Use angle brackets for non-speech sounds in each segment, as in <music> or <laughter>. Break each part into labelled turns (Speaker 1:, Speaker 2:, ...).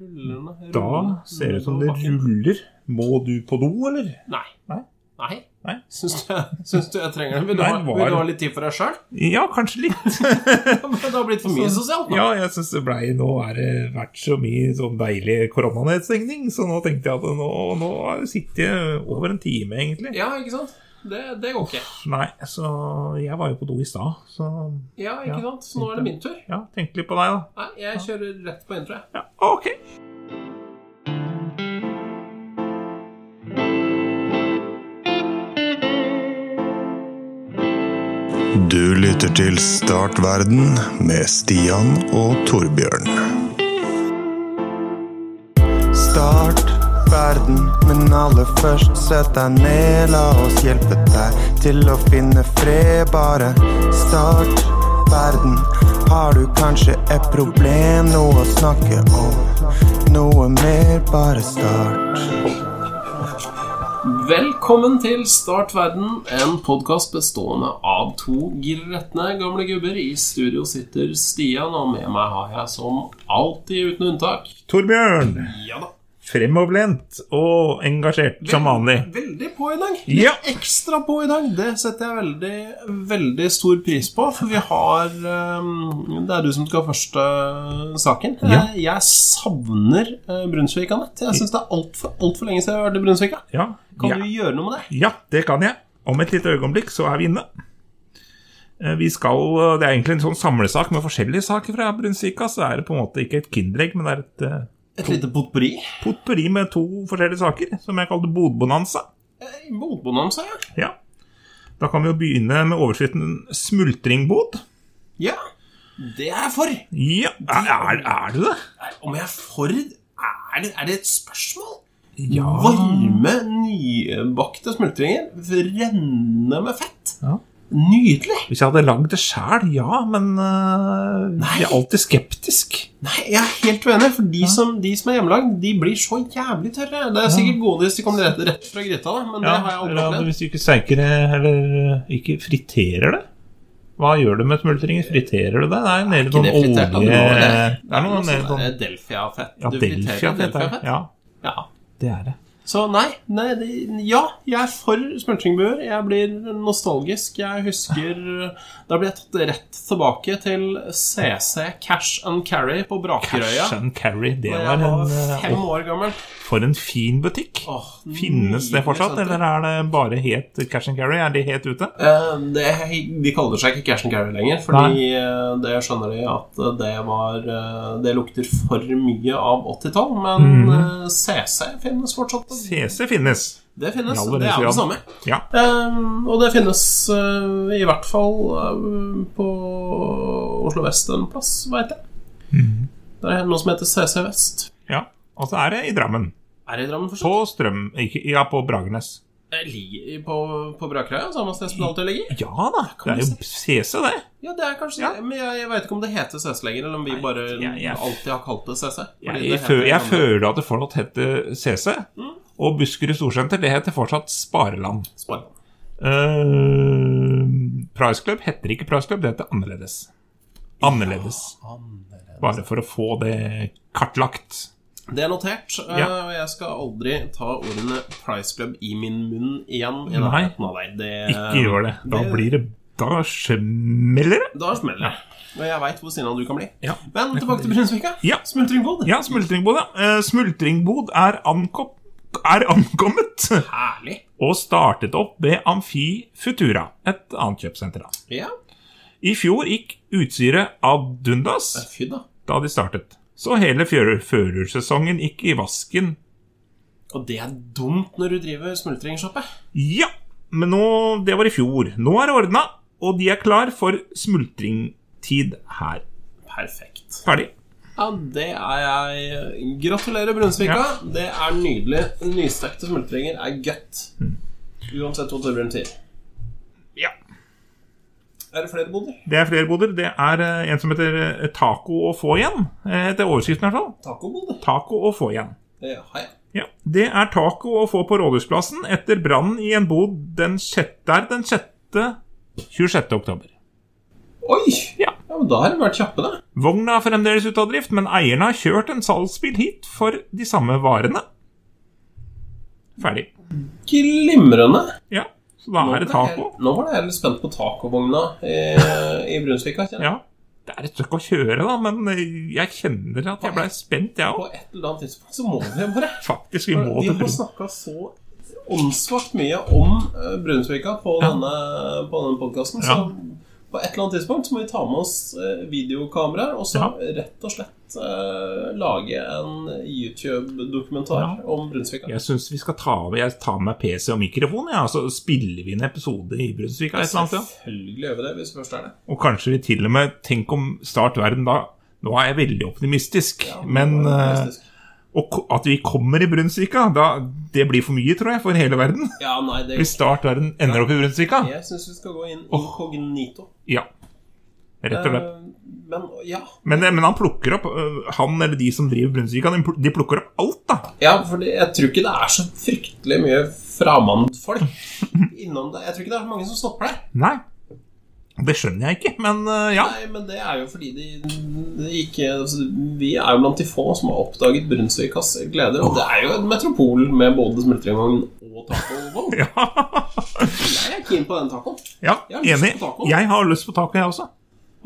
Speaker 1: rullende, rullende
Speaker 2: Da ser det ut som det
Speaker 1: bakken.
Speaker 2: ruller. Må du på do, eller?
Speaker 1: Nei.
Speaker 2: Nei?
Speaker 1: Nei.
Speaker 2: Nei.
Speaker 1: Syns du, <laughs> syns du jeg trenger det? Vil du,
Speaker 2: Nei,
Speaker 1: ha,
Speaker 2: var-
Speaker 1: vil du ha litt tid for deg
Speaker 2: <laughs>
Speaker 1: sjøl?
Speaker 2: Ja, kanskje litt.
Speaker 1: Det har blitt for mye sosialt nå.
Speaker 2: <laughs> Ja, jeg syns det blei Nå er det vært så mye sånn deilig koronanedstengning, så nå tenkte jeg at nå, nå sitter jeg over en time, egentlig.
Speaker 1: Ja, ikke sant? Det, det går ikke.
Speaker 2: Nei, så jeg var jo på do i stad, så
Speaker 1: Ja, ikke
Speaker 2: Ja,
Speaker 1: sant? Så nå er det min tur.
Speaker 2: ja, tenkte litt på deg, da.
Speaker 1: Nei, jeg kjører rett på intro, jeg.
Speaker 2: Ja, ok.
Speaker 3: Du lytter til Startverden med Stian og Torbjørn. Start verden, men aller først sett deg ned. La oss hjelpe deg til å finne fred. Bare start verden. Har du kanskje et problem, noe å snakke om? Noe mer, bare start.
Speaker 1: Velkommen til Start verden, en podkast bestående av to gretne gamle gubber. I studio sitter Stian, og med meg har jeg som alltid, uten unntak
Speaker 2: Torbjørn.
Speaker 1: Ja da.
Speaker 2: Fremoverlent og engasjert som vanlig.
Speaker 1: Veldig på i dag.
Speaker 2: Ja.
Speaker 1: Ekstra på i dag. Det setter jeg veldig, veldig stor pris på, for vi har eh, Det er du som skal ha første eh, saken.
Speaker 2: Ja.
Speaker 1: Jeg, jeg savner eh, Brunsvik, Anette. Jeg syns det er altfor alt for lenge siden jeg har vært i Brunsvik. da.
Speaker 2: Ja,
Speaker 1: Kan
Speaker 2: ja.
Speaker 1: du gjøre noe med det?
Speaker 2: Ja, det kan jeg. Om et lite øyeblikk så er vi inne. Eh, Vi skal, eh, Det er egentlig en sånn samlesak med forskjellige saker fra Brunsvika. Så er det på en måte ikke et kinderegg, men det er et eh,
Speaker 1: Et lite potpurri?
Speaker 2: potpurri med to forskjellige saker, som jeg kaller bodbonanza.
Speaker 1: Eh, Motbonanza, ja.
Speaker 2: Ja. Da kan vi jo begynne med overskriften 'smultringbod'.
Speaker 1: Ja, det er jeg for.
Speaker 2: Ja, er, er- er det det?
Speaker 1: Er- Om jeg er for Er det, er det et spørsmål?
Speaker 2: Ja.
Speaker 1: Varme, nybakte smultringer. Rennende med fett.
Speaker 2: Ja.
Speaker 1: Nydelig.
Speaker 2: Hvis jeg hadde lagd det sjæl, ja, men eh,
Speaker 1: Nei.
Speaker 2: jeg er alltid skeptisk.
Speaker 1: Nei, jeg er helt uenig, for de, som, de som er hjemmelagd, de blir så jævlig tørre. Det er sikkert gode hvis de kommer rett, rett fra gryta, da, men det har jeg aldri
Speaker 2: eller
Speaker 1: opplevd.
Speaker 2: hvis du ikke steiker det, eller eh, ikke friterer det. Hva gjør du med smultringer? Friterer du det? Det er jo nede i sånn olje
Speaker 1: da, du
Speaker 2: Det
Speaker 1: må det.
Speaker 2: er noe
Speaker 1: sånn
Speaker 2: nede i sånn
Speaker 1: der Delfia-fett.
Speaker 2: Ja,
Speaker 1: Du
Speaker 2: Delfia
Speaker 1: friterer
Speaker 2: heter det.
Speaker 1: Delfia-fett.
Speaker 2: Ja,
Speaker 1: Ja.
Speaker 2: det er det.
Speaker 1: Så nei, nei det, ja, jeg er for smultringbuer. Jeg blir nostalgisk. Jeg husker Da blir jeg tatt rett tilbake til CC Cash and Carry på Brakerøya.
Speaker 2: Cash and Carry, det
Speaker 1: Da jeg
Speaker 2: var en
Speaker 1: var
Speaker 2: eh,
Speaker 1: fem år gammel.
Speaker 2: For en fin butikk.
Speaker 1: Åh,
Speaker 2: Finnes det
Speaker 1: nydelig
Speaker 2: fortsatt,
Speaker 1: senter.
Speaker 2: eller er det bare het Cash and Carry? Er de helt ute?
Speaker 1: Eh, det, de kaller seg ikke Cash and Carry lenger, fordi eh, det skjønner de at det var eh, Det lukter for mye av 80-tall, men eh, CC finnes fortsatt.
Speaker 2: CC finnes.
Speaker 1: Det finnes.
Speaker 2: I
Speaker 1: Altså,
Speaker 2: aller
Speaker 1: Det
Speaker 2: høyeste
Speaker 1: er
Speaker 2: grad.
Speaker 1: det samme.
Speaker 2: Ja.
Speaker 1: Ehm, og det finnes eh, i hvert fall eh, på Oslo Vest en plass, veit jeg. Det er noe som heter CC Vest.
Speaker 2: ja. Og så er det i Drammen.
Speaker 1: Er det i Drammen forstått?
Speaker 2: På Strøm ikke, Ja, på Bragernes.
Speaker 1: På, på, på Brakerøya, samme sted som det alltid ligger?
Speaker 2: Ja da, det er jo CC, det.
Speaker 1: Ja, det er kanskje
Speaker 2: Ja.
Speaker 1: det. Men jeg, jeg veit ikke om det heter CC lenger, eller om vi
Speaker 2: Nei,
Speaker 1: bare
Speaker 2: jeg- jeg-
Speaker 1: alltid har kalt det CC. fordi
Speaker 2: Jeg,
Speaker 1: det
Speaker 2: jeg,
Speaker 1: heter Mm.
Speaker 2: føl, jeg
Speaker 1: det gamle
Speaker 2: føler at det fortsatt heter CC. Og Buskerud Storsenter, det heter fortsatt Spareland.
Speaker 1: Sparren.
Speaker 2: Uh, Price Club heter ikke Price Club, det heter Annerledes. Annerledes. Bare for å få det kartlagt.
Speaker 1: Det er notert, eh,
Speaker 2: Ja.
Speaker 1: og jeg skal aldri ta ordene Price Club i min munn igjen. I
Speaker 2: Nei.
Speaker 1: nærheten av deg. Det-
Speaker 2: Ikke gjør det. Da blir det Da smeller det.
Speaker 1: Da smeller det. Og jeg veit hvor sinna du kan bli.
Speaker 2: Ja.
Speaker 1: Men tilbake til Brunsvika.
Speaker 2: Ja.
Speaker 1: Smultringbod.
Speaker 2: Ja, smultringbod, ja. Eh, smultringbod er, ankom, er ankommet <laughs>
Speaker 1: Herlig.
Speaker 2: og startet opp ved Amfi Futura, et annet kjøpesenter. da.
Speaker 1: Ja.
Speaker 2: I fjor gikk utstyret ad undas.
Speaker 1: Fy da.
Speaker 2: da de startet. Så hele fjør- førersesongen gikk i vasken.
Speaker 1: Og det er dumt når du driver smultringshoppe.
Speaker 2: Ja, men nå, det var i fjor. Nå er det ordna, og de er klar for smultringtid her.
Speaker 1: Perfekt.
Speaker 2: Ferdig.
Speaker 1: Ja, det er jeg. Gratulerer, Brunsvika. Det er nydelig. Nystekte smultringer er godt.
Speaker 2: Mm.
Speaker 1: Uansett hva Torbjørn sier.
Speaker 2: Ja.
Speaker 1: Er det flere boder?
Speaker 2: Det er flere boder. Det er eh, en som heter eh, Taco og få igjen. Eh, Etter overskriften, i hvert fall.
Speaker 1: Tacoboder?
Speaker 2: Taco og få igjen.
Speaker 1: Det har jeg.
Speaker 2: Ja, Det er taco å få på Rådhusplassen etter brannen i en bod den sjette, der den sjette 26. oktober.
Speaker 1: Oi!
Speaker 2: Ja.
Speaker 1: Ja, Ja, men Da har de vært kjappe, da.
Speaker 2: Vogna er fremdeles ute av drift, men eierne har kjørt en salgsbil hit for de samme varene. Ferdig.
Speaker 1: Glimrende.
Speaker 2: Ja, så da er
Speaker 1: Nå ble
Speaker 2: det
Speaker 1: jeg-
Speaker 2: taco.
Speaker 1: Nå var jeg litt spent på tacovogna i, i Brunsvika. kjenner jeg.
Speaker 2: Ja. Det er et stykke å kjøre, da, men eh, jeg kjenner at jeg blei spent, jeg
Speaker 1: På
Speaker 2: òg.
Speaker 1: et eller annet tidspunkt så må vi bare
Speaker 2: Faktisk, vi må
Speaker 1: Vi
Speaker 2: til
Speaker 1: har
Speaker 2: Brun.
Speaker 1: snakka så åndssvakt mye om eh, Brunsvika på
Speaker 2: Ja.
Speaker 1: denne, på denne podkasten, så på et eller annet tidspunkt så må vi ta med oss eh, videokameraer og så
Speaker 2: Ja.
Speaker 1: rett og slett eh, lage en YouTube-dokumentar
Speaker 2: Ja.
Speaker 1: om Brunsvika.
Speaker 2: Jeg syns vi skal ta over Jeg tar med PC og mikrofon, ja, og så spiller vi en episode i Brunsvika et eller annet sted.
Speaker 1: Selvfølgelig gjør vi det, hvis vi først er det.
Speaker 2: Og kanskje vi til og med Tenk om Start verden da Nå er jeg veldig optimistisk, men
Speaker 1: det var
Speaker 2: eh,
Speaker 1: fantastisk.
Speaker 2: og ko- at vi kommer i Brunsvika, da, det blir for mye, tror jeg, for hele verden.
Speaker 1: Ja, nei, det
Speaker 2: Hvis Start verden ender opp i Brunsvika.
Speaker 1: Jeg syns vi skal gå inn incognito.
Speaker 2: Ja. Rett og slett.
Speaker 1: Eh, Men ja.
Speaker 2: Men, eh, men han plukker opp øh, Han eller de som driver Brunsvika, de pl- de plukker opp alt, da.
Speaker 1: ja, for det- jeg tror ikke det er så fryktelig mye
Speaker 2: <laughs>
Speaker 1: fremmedfolk innom det. Jeg tror ikke det er så mange som stopper deg.
Speaker 2: Nei. Det skjønner jeg ikke, men øh, ja. <laughs>
Speaker 1: Nei, men det er jo fordi de, de ikke altså, Vi er jo blant de få som har oppdaget Brunsvikas gleder. Og det er jo en metropol med både smultringvogn og tacovogn.
Speaker 2: ja.
Speaker 1: Jeg er keen på den tacoen.
Speaker 2: Ja,
Speaker 1: Jeg har lyst
Speaker 2: enig.
Speaker 1: på taco.
Speaker 2: Jeg har lyst på taco, jeg også.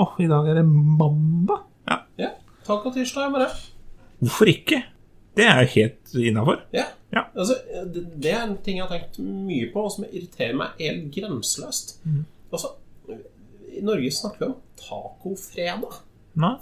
Speaker 2: Åh, i dag er det mamba. Ja.
Speaker 1: Ja, Tacotirsdag er bare
Speaker 2: Hvorfor ikke? Det er jo helt innafor.
Speaker 1: ja.
Speaker 2: Ja.
Speaker 1: Altså, det, det er en ting jeg har tenkt mye på, og som irriterer meg helt grenseløst.
Speaker 2: Mm.
Speaker 1: Altså, I Norge snakker vi om tacofredag.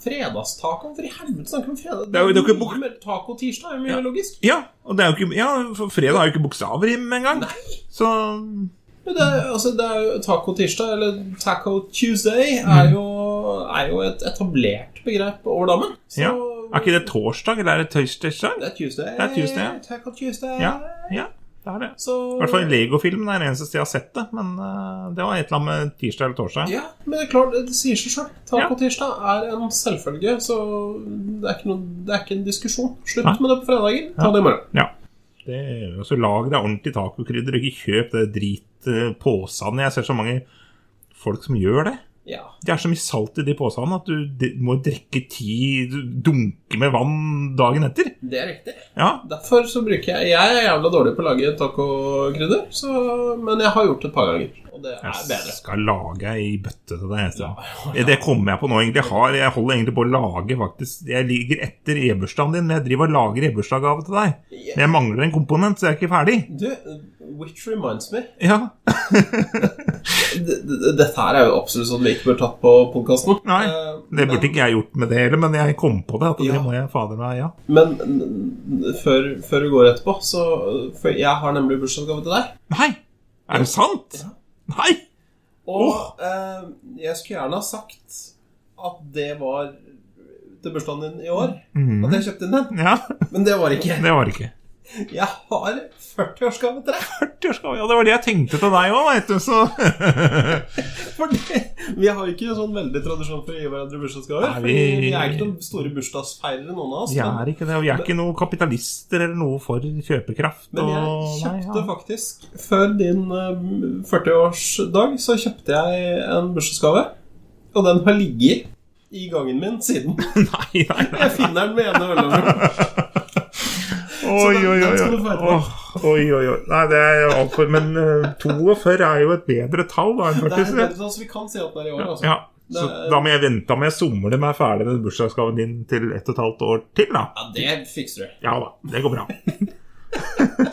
Speaker 1: Fredagstaco. Hvorfor i helvete snakker vi om fredag?
Speaker 2: Det er jo- det er ikke bok-
Speaker 1: mye mer tacotirsdag. er jo mye mer logisk.
Speaker 2: Ja, og det er jo ikke, ja, for fredag er jo ikke bokstavrim engang.
Speaker 1: Nei!
Speaker 2: Så
Speaker 1: Men Det er, altså, det er jo Taco tirsdag, eller Taco Tuesday,
Speaker 2: Mm.
Speaker 1: er jo, er jo et etablert begrep over dammen. Så
Speaker 2: ja. Er ikke det torsdag, eller er det tøysdag?
Speaker 1: det er Tuesday.
Speaker 2: Det er Tuesday, ja.
Speaker 1: Taco Tuesday.
Speaker 2: Ja, ja, det er det.
Speaker 1: Så,
Speaker 2: I hvert fall i Lego-filmen er det eneste jeg har sett det, men øh, det var et eller annet med tirsdag eller torsdag.
Speaker 1: Ja, men det er klart, det sier seg sjøl. Taco tirsdag er en selvfølge, så det er ikke, noe, det er ikke en diskusjon. Slutt
Speaker 2: Nei.
Speaker 1: med det på fredager. Ta det i morgen.
Speaker 2: Ja. Det, altså, lag deg ordentlig tacokrydder, og ikke kjøp det dritpåsene. Jeg ser så mange folk som gjør det.
Speaker 1: Ja.
Speaker 2: Det er så mye salt i de påsene at du de, må drikke ti du dunker med vann dagen etter.
Speaker 1: Det er riktig.
Speaker 2: Ja,
Speaker 1: Derfor så bruker jeg Jeg er jævla dårlig på å lage tacokrydder, så- men jeg har gjort det et par ganger. Og det er bedre.
Speaker 2: jeg skal lage ei bøtte til deg. Ja, sånn. Det kommer jeg på nå, egentlig. Jeg, har, jeg holder egentlig på å lage, faktisk. Jeg ligger etter e-bursdagen din, men jeg driver og lager e-bursdagsgave til deg. Men jeg mangler en komponent, så jeg er ikke ferdig.
Speaker 1: Du, which reminds me
Speaker 2: Ja,
Speaker 1: D- d- Dette her er jo absolutt sånn vi ikke bør tatt på podkasten.
Speaker 2: Nei, Det burde ikke jeg gjort med det heller, men jeg kom på det. At
Speaker 1: Eh, Ja.
Speaker 2: det må jeg fader meg, ja.
Speaker 1: Men n- n- før, før du går etterpå, så For jeg har nemlig bursdagsgave til deg.
Speaker 2: Nei! Er det sant? Nei!
Speaker 1: Og eh, jeg skulle gjerne ha sagt at det var til bursdagen din i år.
Speaker 2: Mhm.
Speaker 1: At jeg kjøpte inn den.
Speaker 2: Ja,
Speaker 1: Men det var ikke.
Speaker 2: det var det ikke.
Speaker 1: Jeg har 40-årsgave til deg.
Speaker 2: 40-årsgave, ja, det var det jeg tenkte til deg òg, veit du, så
Speaker 1: Fordi vi har jo ikke sånn veldig tradisjon for å gi hverandre bursdagsgaver.
Speaker 2: Nei,
Speaker 1: Fordi
Speaker 2: vi-
Speaker 1: Vi er ikke noen store bursdagsfeirere, noen av oss.
Speaker 2: Vi
Speaker 1: men-
Speaker 2: er ikke det, og vi er ikke noen kapitalister eller noe for kjøpekraft.
Speaker 1: Men jeg
Speaker 2: og- nei,
Speaker 1: kjøpte
Speaker 2: ja.
Speaker 1: faktisk Før din eh, 40-årsdag Så kjøpte jeg en bursdagsgave Og den har ligget i gangen min siden <laughs>
Speaker 2: <laughs> Nei, nei, nei.
Speaker 1: Jeg finner den med ene
Speaker 2: <laughs>
Speaker 1: øllene
Speaker 2: Oi,
Speaker 1: den-
Speaker 2: oi,
Speaker 1: den
Speaker 2: oi.
Speaker 1: skal du få etterpå.
Speaker 2: Åh, Oi, oi, oi. Nei, det er jo altfor Men eh, 42 er jo et bedre tall da enn
Speaker 1: Det er
Speaker 2: 40.
Speaker 1: helt sånn, så vi kan si at den er i år altså.
Speaker 2: Ja, så
Speaker 1: Det er-
Speaker 2: da må jeg vente da må jeg somle meg ferdig med bursdagsgaven din til ett og et halvt år til, da.
Speaker 1: Ja, det fikser du
Speaker 2: Ja da, det
Speaker 1: <laughs>
Speaker 2: går bra.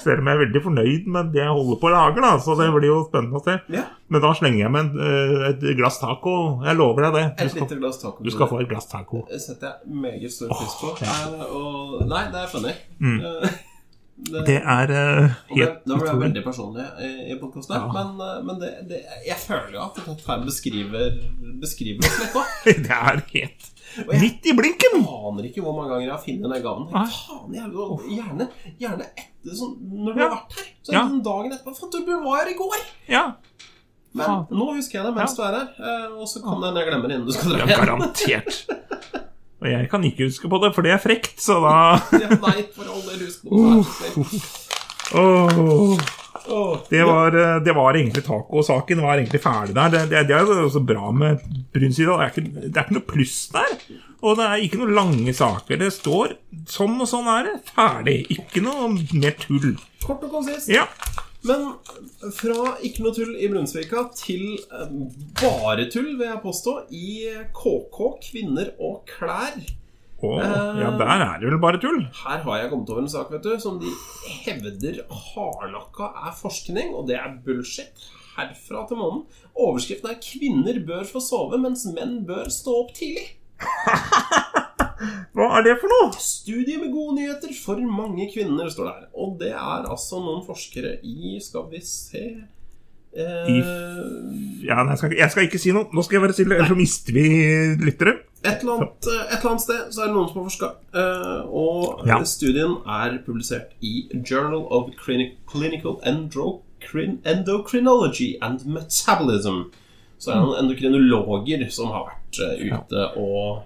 Speaker 2: Selv om jeg er veldig fornøyd med det jeg holder på å lage, da, så det blir jo spennende å se.
Speaker 1: Ja.
Speaker 2: Men da slenger jeg med en, eh, et glass taco. Jeg lover deg det. Du
Speaker 1: Et
Speaker 2: skal,
Speaker 1: lite glass taco
Speaker 2: du skal få et glass taco.
Speaker 1: Det setter jeg meget stor pris på
Speaker 2: Åh, ja.
Speaker 1: Eh, og, Nei, det er funny Eh, det-
Speaker 2: Det er
Speaker 1: Og
Speaker 2: eh,
Speaker 1: det-
Speaker 2: helt
Speaker 1: Nå ble jeg
Speaker 2: utrolig.
Speaker 1: veldig personlig i, i podcasten her, men, eh, men det, det, jeg føler jo at dette her beskriver, beskriver oss litt da
Speaker 2: <laughs> Det er helt midt i blinken!
Speaker 1: Jeg aner ikke hvor mange ganger jeg har funnet denne gaven.
Speaker 2: Nei.
Speaker 1: Faen, jeg, gjerne, gjerne etter sånn, Når du
Speaker 2: Ja.
Speaker 1: har vært her. Så
Speaker 2: Ja.
Speaker 1: liksom dagen etterpå Faen, du var her i går!
Speaker 2: Ja,
Speaker 1: Men
Speaker 2: Faen.
Speaker 1: nå husker jeg det mens du er her. eh, Og så kan det hende jeg glemmer det innen du skal
Speaker 2: ja
Speaker 1: dra <laughs> hjem.
Speaker 2: garantert. Og jeg kan ikke huske på det, for det er frekt, så da
Speaker 1: Ja, nei, for all del, husk noe.
Speaker 2: Åh. Det var, eh, det var egentlig tacosaken var egentlig ferdig der. Det, det, det er jo også bra med Brunsyda. Det, er ikke- det er ikke noe pluss der. Og det er ikke noen lange saker. Det står sånn og sånn er det. Ferdig. Ikke noe mer tull.
Speaker 1: Kort og konsist.
Speaker 2: Ja.
Speaker 1: Men fra ikke noe tull i Brunsvika til eh, bare tull, vil jeg påstå, i KK, kvinner og klær.
Speaker 2: Å, ja, der er det vel bare tull.
Speaker 1: Her har jeg kommet over en sak vet du, som de hevder hardnakka er forskning, og det er bullshit. Herfra til månen. Overskriften er 'Kvinner bør få sove, mens menn bør stå opp tidlig'.
Speaker 2: Hva er det for noe?
Speaker 1: Studie med gode nyheter for mange kvinner, står det her. Og det er altså noen forskere i Skal vi se eh,
Speaker 2: Ja, nei, jeg, skal, ikke- jeg skal ikke si noe. Nå skal jeg være stille, ellers så mister vi lyttere.
Speaker 1: et, eller annet, eh, et eller annet sted så er det noen som har forska. Eh, og
Speaker 2: Ja.
Speaker 1: studien er publisert i Journal of Clini- Clinical Endocrin Endocrinology and Metabolism. Så er det noen endokrinologer som har vært eh, ute og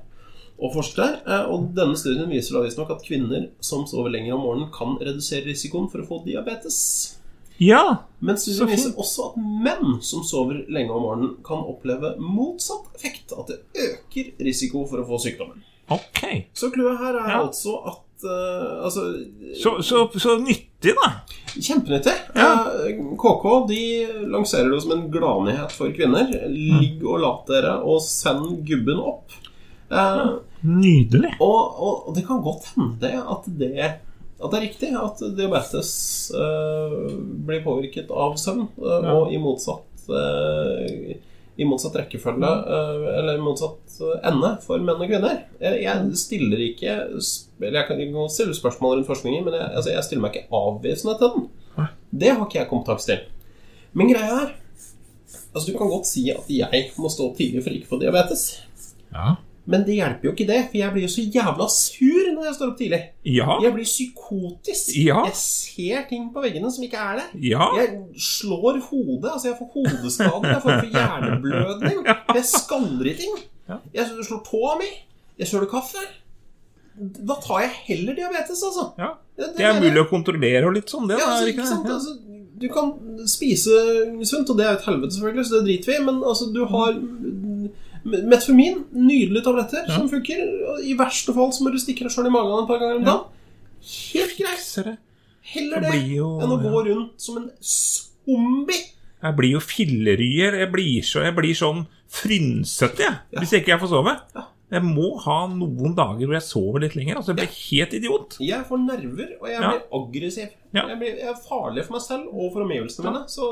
Speaker 1: og forsker der. eh, Og denne studien viser da visstnok at kvinner som sover lenger om morgenen, kan redusere risikoen for å få diabetes.
Speaker 2: Ja.
Speaker 1: Men studien
Speaker 2: Så
Speaker 1: viser
Speaker 2: fint.
Speaker 1: også at menn som sover lenge om morgenen, kan oppleve motsatt effekt. At det øker risiko for å få sykdommen.
Speaker 2: Ok.
Speaker 1: Så clouet her er
Speaker 2: Ja.
Speaker 1: altså at eh, Altså,
Speaker 2: Så, så, så nyttig, da.
Speaker 1: kjempenyttig.
Speaker 2: Ja.
Speaker 1: Eh, KK de lanserer det jo som en gladnyhet for kvinner. Ligg og lat dere, og send gubben opp. Eh,
Speaker 2: Nydelig.
Speaker 1: Og, og, og det kan godt hende det at det at det er riktig at diabetes eh, blir påvirket av søvn, eh,
Speaker 2: Ja.
Speaker 1: og i motsatt eh, I motsatt rekkefølge, eh, eller i motsatt eh, ende, for menn og kvinner. Jeg, jeg stiller ikke sp- Eller jeg kan jeg kan stille spørsmål rundt forskningen, men jeg, altså, jeg stiller meg ikke avvisende til den. Det har ikke jeg kompetanse til. Men greia er Altså, du kan godt si at jeg må stå opp tidlig for ikke å få diabetes.
Speaker 2: Ja.
Speaker 1: Men det hjelper jo ikke det, for jeg blir jo så jævla sur når jeg står opp tidlig.
Speaker 2: Ja.
Speaker 1: Jeg blir psykotisk.
Speaker 2: Ja.
Speaker 1: Jeg ser ting på veggene som ikke er der.
Speaker 2: ja.
Speaker 1: Jeg slår hodet. Altså, jeg får hodeskader. Jeg får for
Speaker 2: <laughs>
Speaker 1: hjerneblødning. Jeg skaller i ting. Jeg slår tåa mi. Jeg kjøler kaffe. Da tar jeg heller diabetes, altså.
Speaker 2: ja.
Speaker 1: Det,
Speaker 2: Det er mulig å kontrollere og litt sånn, det.
Speaker 1: ja,
Speaker 2: da, er
Speaker 1: altså,
Speaker 2: det
Speaker 1: ikke
Speaker 2: ikke
Speaker 1: sant?
Speaker 2: det?
Speaker 1: Altså, du kan spise sunt, og det er jo et helvete, selvfølgelig, så det driter vi i, men altså, du har mm, metformin, nydelige tabletter som funker. og I verste fall så må du stikke deg sjøl i magen et par ganger om
Speaker 2: Ja.
Speaker 1: dagen. Helt greit.
Speaker 2: Ser det.
Speaker 1: Heller
Speaker 2: Det
Speaker 1: det
Speaker 2: blir jo-
Speaker 1: enn å gå rundt som en zombie.
Speaker 2: Jeg blir jo filleryer. Jeg blir, så, jeg blir sånn frynsete, jeg. Hvis ikke jeg får sove.
Speaker 1: Ja.
Speaker 2: Jeg må ha noen dager hvor jeg sover litt lenger. Altså, jeg blir helt idiot.
Speaker 1: Jeg får nerver, og jeg
Speaker 2: Ja.
Speaker 1: blir aggressiv.
Speaker 2: Ja.
Speaker 1: Jeg, blir, jeg er farlig for meg selv og for omgivelsene mine, så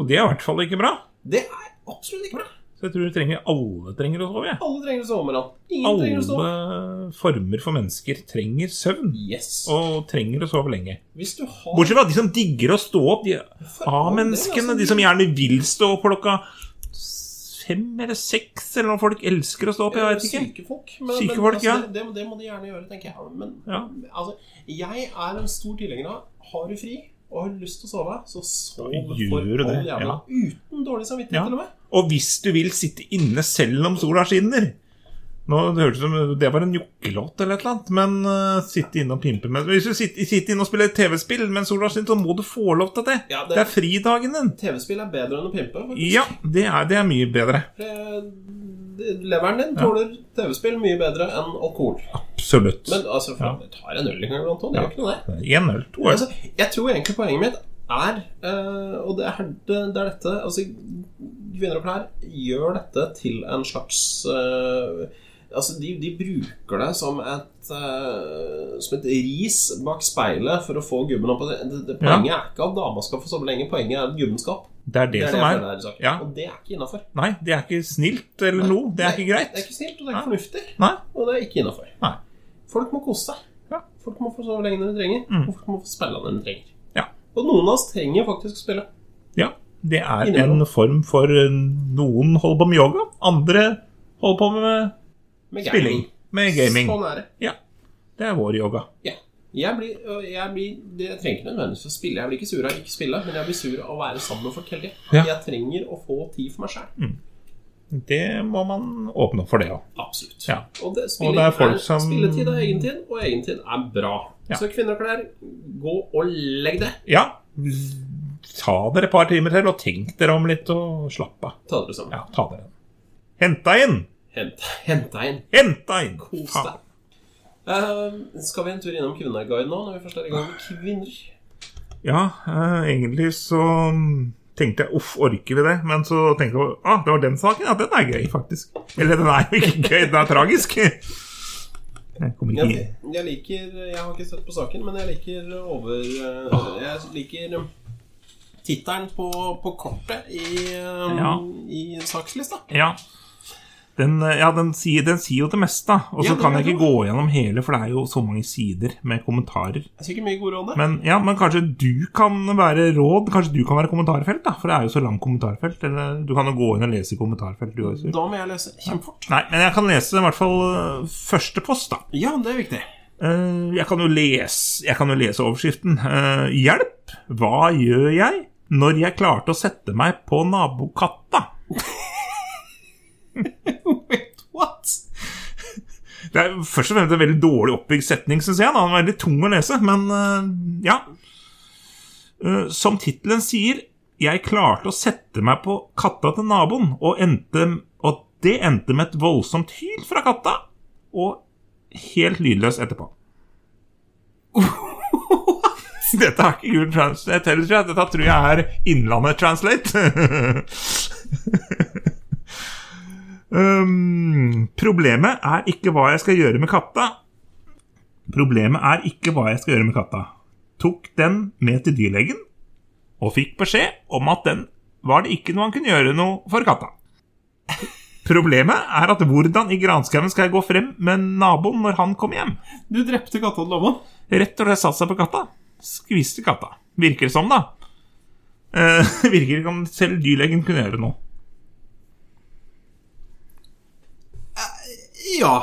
Speaker 2: Og det er i hvert fall ikke bra.
Speaker 1: det er absolutt ikke bra.
Speaker 2: Så jeg tror du trenger, alle trenger å sove. Jeg.
Speaker 1: Alle trenger å sove om morgenen. Ingen trenger å stå.
Speaker 2: Alle former for mennesker trenger søvn.
Speaker 1: Yes.
Speaker 2: Og trenger å sove lenge.
Speaker 1: Hvis du har
Speaker 2: Bortsett fra de som digger å stå opp. De
Speaker 1: altså.
Speaker 2: A-menneskene. De som gjerne vil stå opp klokka fem eller seks, eller om folk elsker å stå opp. Jeg vet ikke.
Speaker 1: Eh, Syke folk. Men,
Speaker 2: Syke
Speaker 1: men,
Speaker 2: folk,
Speaker 1: altså,
Speaker 2: ja.
Speaker 1: det, det, det må de gjerne gjøre, tenker jeg. Men
Speaker 2: Ja.
Speaker 1: altså, jeg er en stor tilhenger av har du fri og har du lyst til å sove, så sov
Speaker 2: Ja, gjør
Speaker 1: for
Speaker 2: du
Speaker 1: all
Speaker 2: det,
Speaker 1: jævla.
Speaker 2: ja.
Speaker 1: Uten dårlig samvittighet,
Speaker 2: Ja.
Speaker 1: til og med.
Speaker 2: Og hvis du vil sitte inne selv om sola skinner Nå det hørtes ut som det var en jokkelåt eller et eller annet, men eh, sitte inne og pimpe med Hvis du sitter, sitter inne og spiller TV-spill mens sola skinner, så må du få lov til det.
Speaker 1: Ja, det-
Speaker 2: det... er fridagen din.
Speaker 1: TV-spill er bedre enn å pimpe. faktisk.
Speaker 2: Ja, det er, det er mye bedre.
Speaker 1: Eh, Leveren din tåler TV-spill mye bedre enn alkohol.
Speaker 2: Absolutt.
Speaker 1: Men altså, for
Speaker 2: Ja.
Speaker 1: det tar en øl en gang iblant òg. Det gjør ikke noe, det.
Speaker 2: Én øl, to øl.
Speaker 1: Altså, jeg tror egentlig poenget mitt er, eh, og det er, det det er dette altså, Kvinner og klær gjør dette til en slags eh, Altså, de, de bruker det som et eh, Som et ris bak speilet for å få gubben opp. Og Det, det, det,
Speaker 2: Ja.
Speaker 1: poenget er ikke at dama skal få sove lenge, poenget er at gubben skal opp.
Speaker 2: Det er det,
Speaker 1: Det er det
Speaker 2: som
Speaker 1: jeg
Speaker 2: er.
Speaker 1: føler er i saken.
Speaker 2: Ja.
Speaker 1: Og det er ikke innafor.
Speaker 2: Nei, det er ikke snilt eller noe. Det er ikke greit.
Speaker 1: Det er ikke snilt, og det er ikke fornuftig.
Speaker 2: Nei.
Speaker 1: Og det er ikke innafor.
Speaker 2: Nei.
Speaker 1: Folk må kose seg.
Speaker 2: Ja. Mm.
Speaker 1: Folk må få sove lenge når de trenger, og folk må få spille når de trenger.
Speaker 2: Ja.
Speaker 1: Og noen av oss trenger faktisk å spille.
Speaker 2: Ja, det er
Speaker 1: Innimellom.
Speaker 2: en form for eh, Noen holder på med yoga, andre holder på med
Speaker 1: Med
Speaker 2: spilling. Med gaming.
Speaker 1: Sånn er det.
Speaker 2: Ja. Det er vår yoga.
Speaker 1: Ja. Jeg blir, og jeg blir det- Jeg trenger ikke nødvendigvis å spille. Jeg blir ikke sur av ikke spille, men jeg blir sur av å være sammen med folk hele tiden.
Speaker 2: Ja. Mm.
Speaker 1: Jeg trenger å få tid for meg sjæl.
Speaker 2: Det må man åpne opp for, det òg.
Speaker 1: Absolutt.
Speaker 2: Ja.
Speaker 1: Og det, spilling,
Speaker 2: Og det er folk som-
Speaker 1: Spilletid er egentid, og egentid er bra.
Speaker 2: Ja.
Speaker 1: Så kvinner og klær, gå og legg deg.
Speaker 2: Ja. ta dere et par timer til og tenk dere om litt og slapp av.
Speaker 1: Ta dere sammen.
Speaker 2: Ja, ta dere en. Hent deg inn!
Speaker 1: Hent, hent deg inn.
Speaker 2: Hent deg inn!
Speaker 1: Kos
Speaker 2: Faen.
Speaker 1: deg. Eh, skal vi en tur innom Kvinneguide nå, når vi først er i gang med kvinner?
Speaker 2: Ja, eh, egentlig så mm, tenkte jeg uff, orker vi det? Men så tenkte jeg ah, det var den saken. Ja, den er gøy, faktisk. Eller den er jo ikke gøy, den er tragisk. Jeg kom ikke
Speaker 1: Jeg,
Speaker 2: inn.
Speaker 1: jeg liker Jeg har ikke sett på saken, men jeg liker over eh, Jeg liker eh, tittelen på, på kortet i, eh,
Speaker 2: Ja.
Speaker 1: i sakslista.
Speaker 2: Ja. Den, eh, ja, den, sier, den sier jo det meste, og
Speaker 1: Ja,
Speaker 2: så
Speaker 1: det
Speaker 2: kan
Speaker 1: gjør
Speaker 2: jeg
Speaker 1: den.
Speaker 2: ikke gå gjennom hele, for det er jo så mange sider med kommentarer.
Speaker 1: Jeg sier ikke mye gode råd der.
Speaker 2: Men, ja, men kanskje du kan være råd? Kanskje du kan være kommentarfelt? da For det er jo så langt kommentarfelt. Eller, du kan jo gå inn og lese i kommentarfelt, du også.
Speaker 1: Da må jeg lese kjempefort.
Speaker 2: Nei, men jeg kan lese i hvert fall øh, første post, da.
Speaker 1: Ja, det er viktig.
Speaker 2: Eh, jeg, kan jo lese, jeg kan jo lese overskriften. Eh, hjelp! Hva gjør jeg når jeg klarte å sette meg på nabokatta?
Speaker 1: <laughs> Wait, what?
Speaker 2: Det er jo først og fremst en veldig dårlig oppbygd setning, syns jeg. da Den er Veldig tung å lese, men eh, ja. Eh, som tittelen sier, jeg klarte å sette meg på katta til naboen, og, endte, og det endte med et voldsomt hyl fra katta, og helt lydløs etterpå. <laughs> Dette er ikke Google Translate heller, tror jeg. Dette tror jeg er Innlandet Translate. <laughs> Um, problemet er ikke hva jeg skal gjøre med katta. Problemet er ikke hva jeg skal gjøre med katta. Tok den med til dyrlegen og fikk beskjed om at den var det ikke noe han kunne gjøre noe for katta. Problemet er at hvordan i granskauen skal jeg gå frem med naboen når han kommer hjem?
Speaker 1: Du drepte katta til naboen.
Speaker 2: Rett og slett satt seg på katta. Skviste katta. Virker det som, da. Eh, <laughs> virker ikke om selv dyrlegen kunne gjøre noe.
Speaker 1: Ja.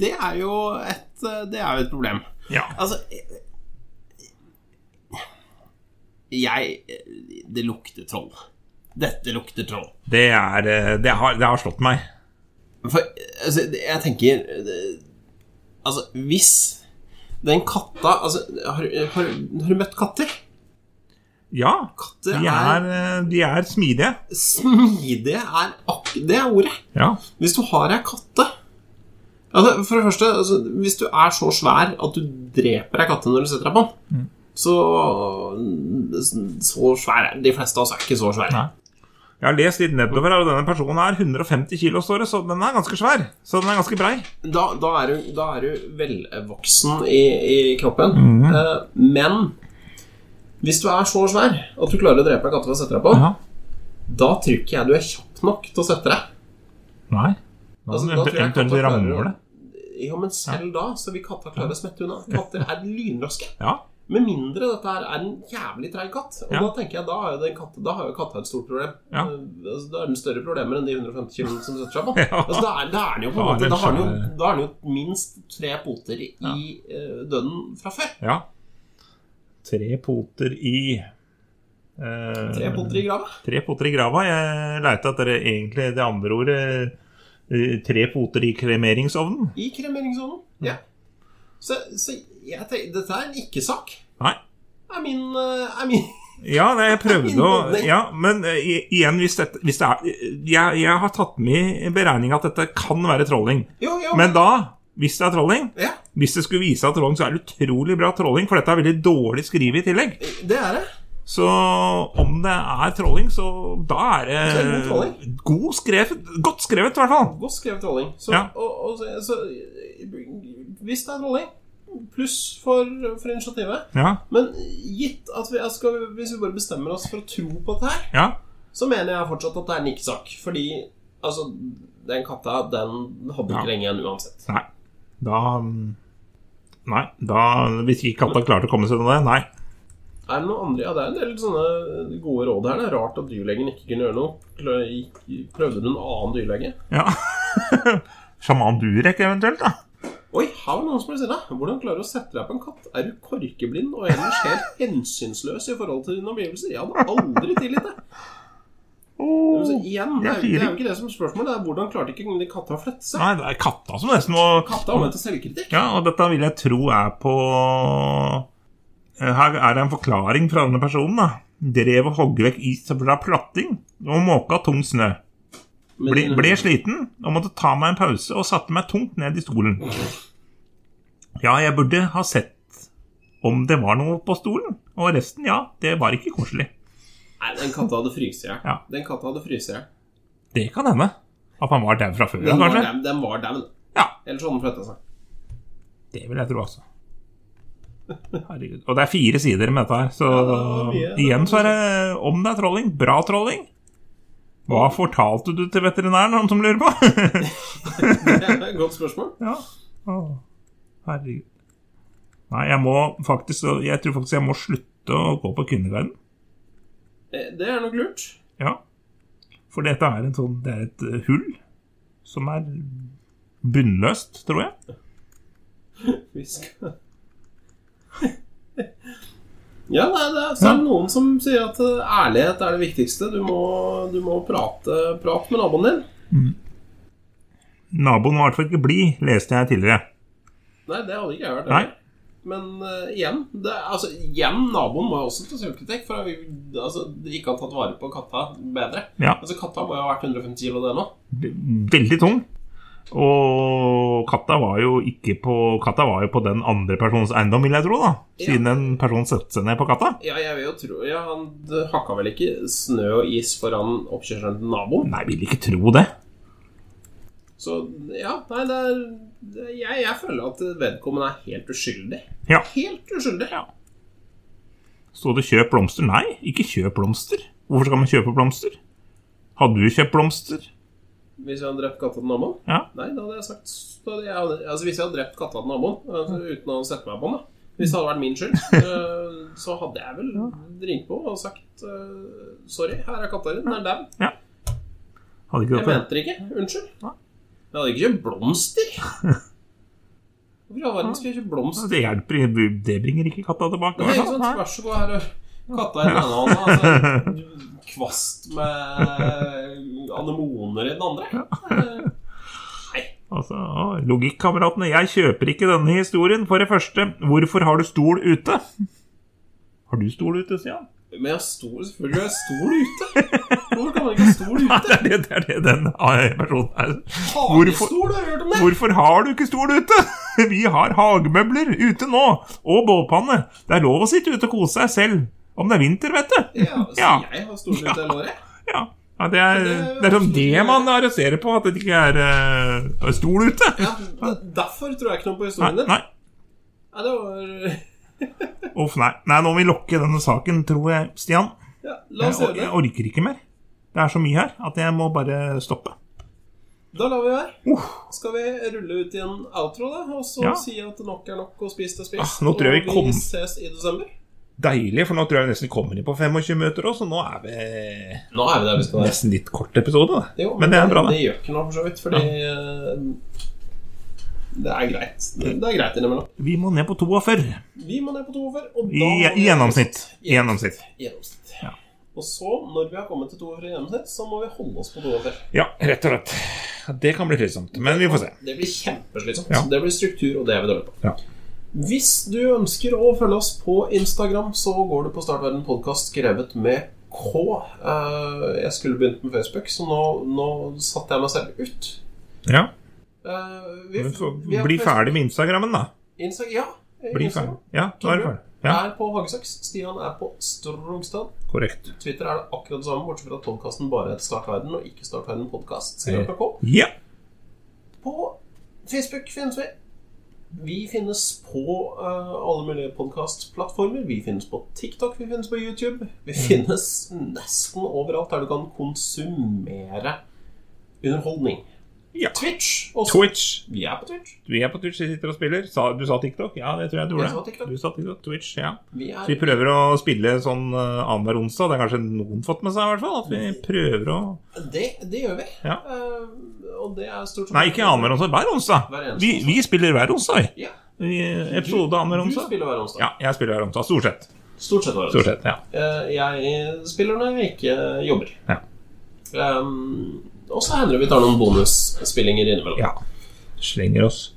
Speaker 1: Det er jo et eh, Det er jo et problem.
Speaker 2: Ja.
Speaker 1: Altså Jeg Det lukter troll. Dette lukter troll.
Speaker 2: Det, er, eh, det, har, det har slått meg.
Speaker 1: For altså, det- jeg tenker det- Altså, hvis den katta altså, har, har, har du møtt katter?
Speaker 2: Ja,
Speaker 1: Katter
Speaker 2: de
Speaker 1: er,
Speaker 2: er, eh, de er smidige.
Speaker 1: smidige er ak Det er ordet.
Speaker 2: Ja.
Speaker 1: Hvis du har ei katte altså, For det første, altså, hvis du er så svær at du dreper ei katte når du setter deg på den, så Så svær er De fleste av oss er ikke så svære.
Speaker 2: Nei. Jeg har lest litt nedover her, og denne personen er 150 kilo, står det, så den er ganske svær. Så den er ganske brei.
Speaker 1: Da, da, er du, da er du velvoksen i, i kroppen. Eh, men hvis du er så svær at du klarer å drepe ei katte ved å sette deg på, da tror ikke jeg du er kjapp nok til å sette deg.
Speaker 2: Nei.
Speaker 1: Altså, da
Speaker 2: da
Speaker 1: tror jeg
Speaker 2: eventuelt
Speaker 1: katta klarer
Speaker 2: ramler det.
Speaker 1: Ja, Men selv da så vil katta klare å smette unna. Katter er lynraske.
Speaker 2: Ja.
Speaker 1: Med mindre dette her er en jævlig treig katt. Og
Speaker 2: Ja.
Speaker 1: da tenker jeg, da har jo den katte- da har jo katta et stort problem.
Speaker 2: Ja.
Speaker 1: Eh, altså, Da er den større problemer enn de 150 kg som setter seg på.
Speaker 2: <laughs> Ja.
Speaker 1: Altså, da, er, da er den jo på en
Speaker 2: Da er
Speaker 1: måte
Speaker 2: den
Speaker 1: Da har den jo,
Speaker 2: svær.
Speaker 1: da er den jo minst tre poter i eh, døden fra før.
Speaker 2: ja. Tre poter i eh,
Speaker 1: Tre poter i grava.
Speaker 2: Tre poter i grava. Jeg leita etter egentlig det andre ordet. eh, Tre poter i kremeringsovnen.
Speaker 1: I kremeringssonen.
Speaker 2: Mm.
Speaker 1: Ja. Så, så jeg tenker, dette er en ikke-sak.
Speaker 2: Nei.
Speaker 1: Er min, eh, er min <laughs>
Speaker 2: Ja, nei, jeg prøvde å
Speaker 1: Innholdning.
Speaker 2: Ja, men eh, i- igjen, hvis, dette, hvis det er jeg, jeg har tatt med i beregninga at dette kan være trolling.
Speaker 1: Jo, jo.
Speaker 2: Men da, hvis det er trolling
Speaker 1: ja,
Speaker 2: Hvis det skulle vise seg trolling, så er det utrolig bra trolling, for dette er veldig dårlig skrevet i tillegg.
Speaker 1: det er det.
Speaker 2: Så om det er trolling, så da er
Speaker 1: Så er det god
Speaker 2: det
Speaker 1: trolling.
Speaker 2: god skrevet, godt skrevet, i hvert fall.
Speaker 1: Godt skrevet trolling. Så,
Speaker 2: Ja.
Speaker 1: og, og, så, så hvis det er trolling, pluss for, for initiativet.
Speaker 2: Ja,
Speaker 1: Men gitt at vi, skal, hvis vi bare bestemmer oss for å tro på dette her,
Speaker 2: ja,
Speaker 1: så mener jeg fortsatt at det er en ikke-sak. Fordi altså, den katta, den hadde ikke
Speaker 2: Ja.
Speaker 1: lenge igjen uansett.
Speaker 2: nei. Da mm, Nei, da Hvis ikke katta klarte å komme seg unna det, nei.
Speaker 1: Er det noe andre? Ja, det er en del sånne gode råd her. Det er rart at dyrlegen ikke kunne gjøre noe. Klø- gikk- Prøvde du en annen dyrlege?
Speaker 2: Ja. <laughs> Sjaman Durek eventuelt, da.
Speaker 1: Oi, her var noen som ble sinna. Hvordan klarer du å sette deg på en katt? Er du korkeblind og ellers helt hensynsløs i forhold til dine omgivelser? Jeg hadde aldri tilgitt det. Men så
Speaker 2: Åh.
Speaker 1: igjen, det er, jo- det er jo ikke det som er spørsmålet. Det er hvordan klarte ikke katta å flette seg?
Speaker 2: Nei, det er katta som nesten må
Speaker 1: Katta har møtt til selvkritikk.
Speaker 2: Ja, og dette vil jeg tro er på eh, Her er det en forklaring fra denne personen. da. Drev og hogg vekk is fra platting og måka tung snø. Ble,
Speaker 1: Men-
Speaker 2: ble sliten og måtte ta meg en pause og satte meg tungt ned i stolen. Ja, jeg burde ha sett om det var noe på stolen, og resten, ja, det var ikke koselig.
Speaker 1: Nei, den katta hadde fryst i hjel.
Speaker 2: Ja.
Speaker 1: Den katta hadde fryst i hjel.
Speaker 2: Det kan hende. At han var der fra før,
Speaker 1: Den, var
Speaker 2: kanskje.
Speaker 1: dem- den var dem.
Speaker 2: Ja,
Speaker 1: Ellers hadde den flytta seg. <laughs>
Speaker 2: det vil jeg tro også. Herregud. Og det er fire sider med dette her, så
Speaker 1: Ja, det var mye.
Speaker 2: igjen så er det om det er trolling, bra trolling. Hva fortalte du til veterinæren, noen som lurer på? <laughs>
Speaker 1: Det er et Godt spørsmål.
Speaker 2: Ja. Åh, herregud. Nei, jeg må faktisk Jeg tror faktisk jeg må slutte å gå på kvinneguiden.
Speaker 1: Eh, Det er nok lurt.
Speaker 2: Ja. For dette er en sånn Det er et eh, hull som er bunnløst, tror jeg.
Speaker 1: Vi skal <laughs> Ja, nei, det er, så er det noen som sier at eh, ærlighet er det viktigste. Du må, du må prate, prate med naboen din.
Speaker 2: Naboen var i hvert fall ikke blid, leste jeg tidligere.
Speaker 1: Nei, det hadde ikke jeg hørt.
Speaker 2: Nei.
Speaker 1: Men eh, igjen, det, altså, igjen Naboen må jo også ta selvkritikk for at vi altså, ikke har tatt vare på katta bedre.
Speaker 2: Ja.
Speaker 1: Altså, katta må jo ha vært 150 kilo, det nå.
Speaker 2: Veldig tung. Og katta var jo ikke på Katta var jo på den andre persons eiendom, vil jeg tro, da. Siden en person setter seg ned på katta.
Speaker 1: Ja, jeg vil jo tro ja, Han d- hakka vel ikke snø og is foran oppkjørselen til naboen?
Speaker 2: Nei, vil ikke tro det.
Speaker 1: Så ja, nei, det er det, jeg, jeg føler at vedkommende er helt uskyldig.
Speaker 2: Ja.
Speaker 1: Helt uskyldig.
Speaker 2: Ja. Så det 'kjøp blomster'? Nei, ikke kjøp blomster. Hvorfor skal man kjøpe blomster? Hadde du kjøpt blomster?
Speaker 1: Hvis jeg hadde drept katta til naboen?
Speaker 2: Ja.
Speaker 1: Nei, da hadde jeg sagt da hadde jeg, Altså, hvis jeg hadde drept katta til naboen altså, uten å sette meg på den, da. Hvis det hadde vært min
Speaker 2: <laughs>
Speaker 1: skyld, eh, så hadde jeg vel ringt på og sagt eh, Sorry, her er katta di. Den er dau.
Speaker 2: Hadde
Speaker 1: Jeg
Speaker 2: ikke dette.
Speaker 1: mente det ikke. Unnskyld.
Speaker 2: Nei.
Speaker 1: Jeg hadde ikke kjøpt blomster. Hvorfor i all verden skal jeg kjøpe blomster?
Speaker 2: Det hjelper, det bringer ikke katta tilbake.
Speaker 1: Det er ikke sånn
Speaker 2: altså.
Speaker 1: sant,
Speaker 2: Nei.
Speaker 1: Vær så god, her er katta i den ene hånda. Altså, en kvast med anemoner i den andre. Eh,
Speaker 2: Altså, å, Logikkameratene, jeg kjøper ikke denne historien. For det første, hvorfor har du stol ute? Har du stol ute, <laughs> Stian?
Speaker 1: Men jeg stol, selvfølgelig har jeg stol ute. Hvorfor kan man ikke ha stol ute?
Speaker 2: Det er det, det, er det den eh, personen er. Hvorfor-
Speaker 1: Hagestol, har du hørt om det?
Speaker 2: Hvorfor har du ikke stol ute? <laughs> Vi har hagemøbler ute nå, og bålpanne. Det er lov å sitte ute og kose seg selv. Om det er vinter, vet du.
Speaker 1: Ja, så
Speaker 2: Ja.
Speaker 1: jeg har stol ute hele året.
Speaker 2: Ja, ja det er, det er sånn det man arresterer på, at det ikke er eh, stol ute.
Speaker 1: Ja, d- derfor tror jeg ikke noe på
Speaker 2: Nei,
Speaker 1: historien din.
Speaker 2: nei.
Speaker 1: Ja, det var...
Speaker 2: Uff, nei. nei. Nå må vi lokke denne saken, tror jeg, Stian.
Speaker 1: Ja, la
Speaker 2: Jeg,
Speaker 1: oss
Speaker 2: or-
Speaker 1: gjøre det.
Speaker 2: jeg orker ikke mer. Det er så mye her at jeg må bare stoppe.
Speaker 1: Da lar vi være.
Speaker 2: Uff.
Speaker 1: Skal vi rulle ut i en outro, da? Og så
Speaker 2: Ja.
Speaker 1: si at nok er nok, og spis det spist.
Speaker 2: Ah, nå tror jeg vi
Speaker 1: og
Speaker 2: kom-
Speaker 1: vi ses i desember.
Speaker 2: Deilig, for nå tror jeg vi nesten kommer inn på 25 minutter òg, så nå er vi
Speaker 1: Nå er vi der vi skal være.
Speaker 2: Nesten litt kort episode, da.
Speaker 1: Jo,
Speaker 2: Men det er bra,
Speaker 1: det.
Speaker 2: det.
Speaker 1: gjør ikke noe, for så vidt, fordi eh, Det er greit. Det det er greit innimellom.
Speaker 2: Vi må ned på 42.
Speaker 1: Vi må ned på 42, og
Speaker 2: I,
Speaker 1: da må
Speaker 2: i
Speaker 1: vi-
Speaker 2: gjennomsnitt. I gjennomsnitt.
Speaker 1: gjennomsnitt.
Speaker 2: Ja.
Speaker 1: Og så, når vi har kommet til 42 gjennomsnitt, så må vi holde oss på 42.
Speaker 2: Ja, rett og slett. Det kan bli slitsomt, men vi får se.
Speaker 1: Det blir kjempeslitsomt.
Speaker 2: Ja.
Speaker 1: Det blir struktur, og det er vi dårlige på.
Speaker 2: Ja.
Speaker 1: Hvis du ønsker å følge oss på Instagram, så går du på Startverden podkast skrevet med K. Eh, jeg skulle begynt med Facebook, så nå, nå satte jeg meg selv ut.
Speaker 2: Ja,
Speaker 1: Eh, vi-
Speaker 2: men så
Speaker 1: vi er
Speaker 2: Bli
Speaker 1: på
Speaker 2: ferdig med Instagrammen, da.
Speaker 1: Insta ja.
Speaker 2: Bli ferdig.
Speaker 1: Instagram.
Speaker 2: Ja, nå er du ferdig. Ja,
Speaker 1: Jeg er på Hagesaks. Stian er på Strongstad.
Speaker 2: korrekt.
Speaker 1: Twitter er det akkurat det samme, bortsett fra at podkasten bare heter Startverden, og ikke Startverden podkast. Skrevet med K.
Speaker 2: Ja.
Speaker 1: På Facebook finnes vi. Vi finnes på eh, alle mulige podkastplattformer. Vi finnes på TikTok, vi finnes på YouTube.
Speaker 2: Mm.
Speaker 1: Vi finnes nesten overalt der du kan konsumere underholdning.
Speaker 2: Ja.
Speaker 1: Twitch også.
Speaker 2: Twitch.
Speaker 1: Vi er på Twitch.
Speaker 2: Vi er på Twitch, vi sitter og spiller. Sa, du sa TikTok? Ja, det tror jeg du
Speaker 1: Jeg sa TikTok.
Speaker 2: gjorde. Du sa TikTok. Twitch, ja.
Speaker 1: Vi
Speaker 2: Så vi
Speaker 1: er
Speaker 2: prøver å spille sånn eh, annenhver onsdag. Det har kanskje noen fått med seg, i hvert fall. At vi prøver å
Speaker 1: Det, det gjør vi.
Speaker 2: Ja.
Speaker 1: Eh, og det er stort sett
Speaker 2: Nei, ikke annenhver onsdag. Hver onsdag.
Speaker 1: Hver eneste
Speaker 2: Vi, vi spiller hver onsdag, vi.
Speaker 1: Ja.
Speaker 2: Vi- eh, Episode annenhver
Speaker 1: Du
Speaker 2: onsdag.
Speaker 1: spiller hver onsdag.
Speaker 2: Ja, jeg spiller hver onsdag. Stort sett.
Speaker 1: Stort sett hver onsdag.
Speaker 2: Stort sett, ja.
Speaker 1: Eh, Jeg spiller når jeg ikke jobber.
Speaker 2: Ja.
Speaker 1: Ehm, og så hender det vi tar noen bonusspillinger innimellom.
Speaker 2: Ja. Slenger oss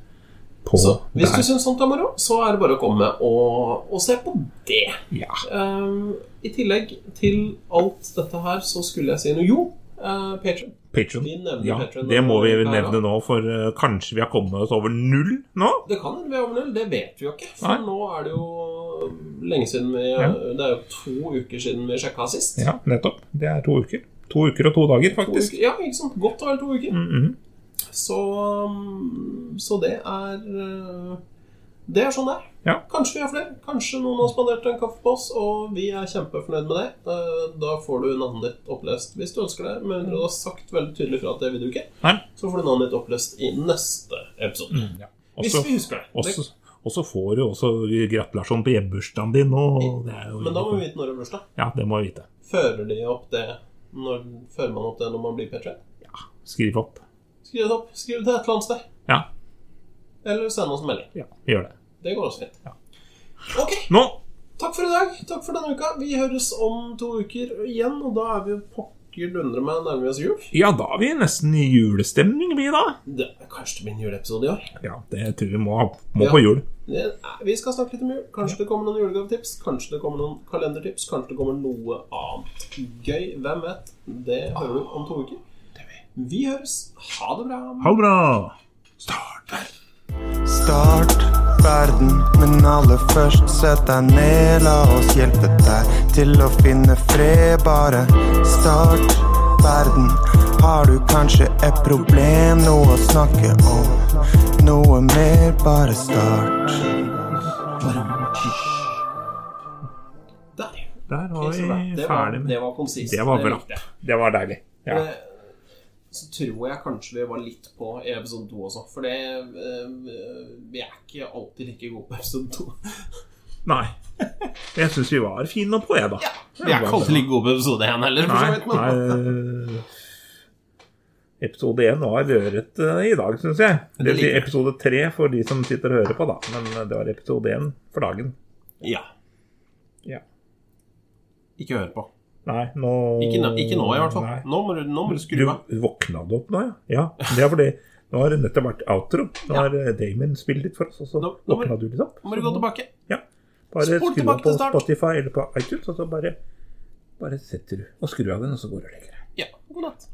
Speaker 2: på
Speaker 1: Så hvis du
Speaker 2: der.
Speaker 1: syns sånt er moro, så er det bare å komme og, og se på det.
Speaker 2: Ja.
Speaker 1: Ehm, I tillegg til alt dette her, så skulle jeg si noe. Jo, uh, Patron.
Speaker 2: Patron.
Speaker 1: Vi nevner
Speaker 2: Ja,
Speaker 1: Patron.
Speaker 2: det må vi
Speaker 1: Ja.
Speaker 2: nevne nå, for eh, kanskje vi har kommet oss over null nå?
Speaker 1: Det kan hende vi er over null, det vet vi jo ikke. For
Speaker 2: Nei.
Speaker 1: nå er det jo lenge siden vi
Speaker 2: Ja.
Speaker 1: Det er jo to uker siden vi sjekka sist.
Speaker 2: Ja, nettopp. Det er to uker. To uker og to dager,
Speaker 1: To
Speaker 2: faktisk.
Speaker 1: uker, ja, ikke sant? Godt og vel to uker.
Speaker 2: Mhm.
Speaker 1: Så, um, så det er uh, Det er sånn det er.
Speaker 2: Ja.
Speaker 1: Kanskje vi er flere. Kanskje noen har spandert en kaffe på oss, og vi er kjempefornøyd med det. Uh, Da får du navnet ditt opplest hvis du ønsker det, men du har sagt veldig tydelig fra at det vil du ikke.
Speaker 2: Nei.
Speaker 1: Så får du navnet ditt opplest i neste episode.
Speaker 2: Ja.
Speaker 1: Mm, Hvis
Speaker 2: Mm. Også,
Speaker 1: vi husker det.
Speaker 2: også,
Speaker 1: det.
Speaker 2: og så får du også gratulasjon på hjemmebursdagen din nå. og Det er jo
Speaker 1: Men da må vi vite når det er bursdag.
Speaker 2: Ja, det må vi vite.
Speaker 1: Fører de opp det når, Fører man opp det når man blir P3?
Speaker 2: Skriv opp.
Speaker 1: Skriv det opp. Skriv det et eller annet sted.
Speaker 2: Ja,
Speaker 1: Eller send oss en melding.
Speaker 2: ja gjør det.
Speaker 1: Det går også fint. Ok.
Speaker 2: Nå
Speaker 1: Takk for i dag. Takk for denne uka. Vi høres om to uker igjen, og da er vi pokker dundre meg nærmer vi oss jul.
Speaker 2: Ja, da er vi nesten i julestemning, vi, da.
Speaker 1: Det, kanskje det blir en juleepisode i år.
Speaker 2: Ja, det tror vi må, må
Speaker 1: Ja.
Speaker 2: på jul.
Speaker 1: Det, er- vi skal snakke litt om jul. Kanskje det kommer noen julegavetips. Kanskje det kommer noen kalendertips. Kanskje det kommer noe annet gøy. Hvem vet? Det hører du
Speaker 2: Ah,
Speaker 1: om to uker. Vi høres. Ha det bra.
Speaker 2: Ha det bra! Start der.
Speaker 3: Start verden, men aller først sett deg ned. La oss hjelpe deg til å finne fred, bare. Start verden. Har du kanskje et problem, noe å snakke om? Noe mer, bare start.
Speaker 1: Der.
Speaker 2: Der
Speaker 1: Ok,
Speaker 2: var
Speaker 1: så bra.
Speaker 2: vi
Speaker 1: Det var,
Speaker 2: ferdig
Speaker 1: det
Speaker 2: med
Speaker 1: var konsist.
Speaker 2: Det var
Speaker 1: likte
Speaker 2: bra.
Speaker 1: jeg.
Speaker 2: Det var deilig. Ja.
Speaker 1: Eh, Så tror jeg kanskje vi var litt på i episode to også, for det eh, Vi er ikke alltid like gode på episode to.
Speaker 2: Nei. Jeg syns vi var fine på, jeg, da.
Speaker 1: Vi er ikke alltid like gode på episode én heller, for så
Speaker 2: Nei,
Speaker 1: vidt. Men
Speaker 2: nei eh, Episode 1 var røret eh, i dag, syns jeg. Det vil si
Speaker 1: liker vi.
Speaker 2: episode 3 for de som sitter og hører på, da. Men eh, det var episode 1 for dagen.
Speaker 1: ja.
Speaker 2: Ja.
Speaker 1: Ikke hør på.
Speaker 2: Nei, nå
Speaker 1: Ikke, nå- ikke nå, i hvert fall.
Speaker 2: Nei.
Speaker 1: Nå må du, nå må du skru av.
Speaker 2: Du våkna du opp nå, ja? Ja, det er fordi nå har det nettopp vært outro. Nå har eh, Damon spilt litt for oss, og så
Speaker 1: Nå- nå må-
Speaker 2: våkna du litt opp.
Speaker 1: Nå må du gå tilbake.
Speaker 2: Ja. Bare
Speaker 1: Spol
Speaker 2: skru
Speaker 1: tilbake
Speaker 2: av på
Speaker 1: til start.
Speaker 2: Spotify eller på iTunes, og så bare, bare setter du og skrur av den, og så går du og legger deg.
Speaker 1: Ja. God natt.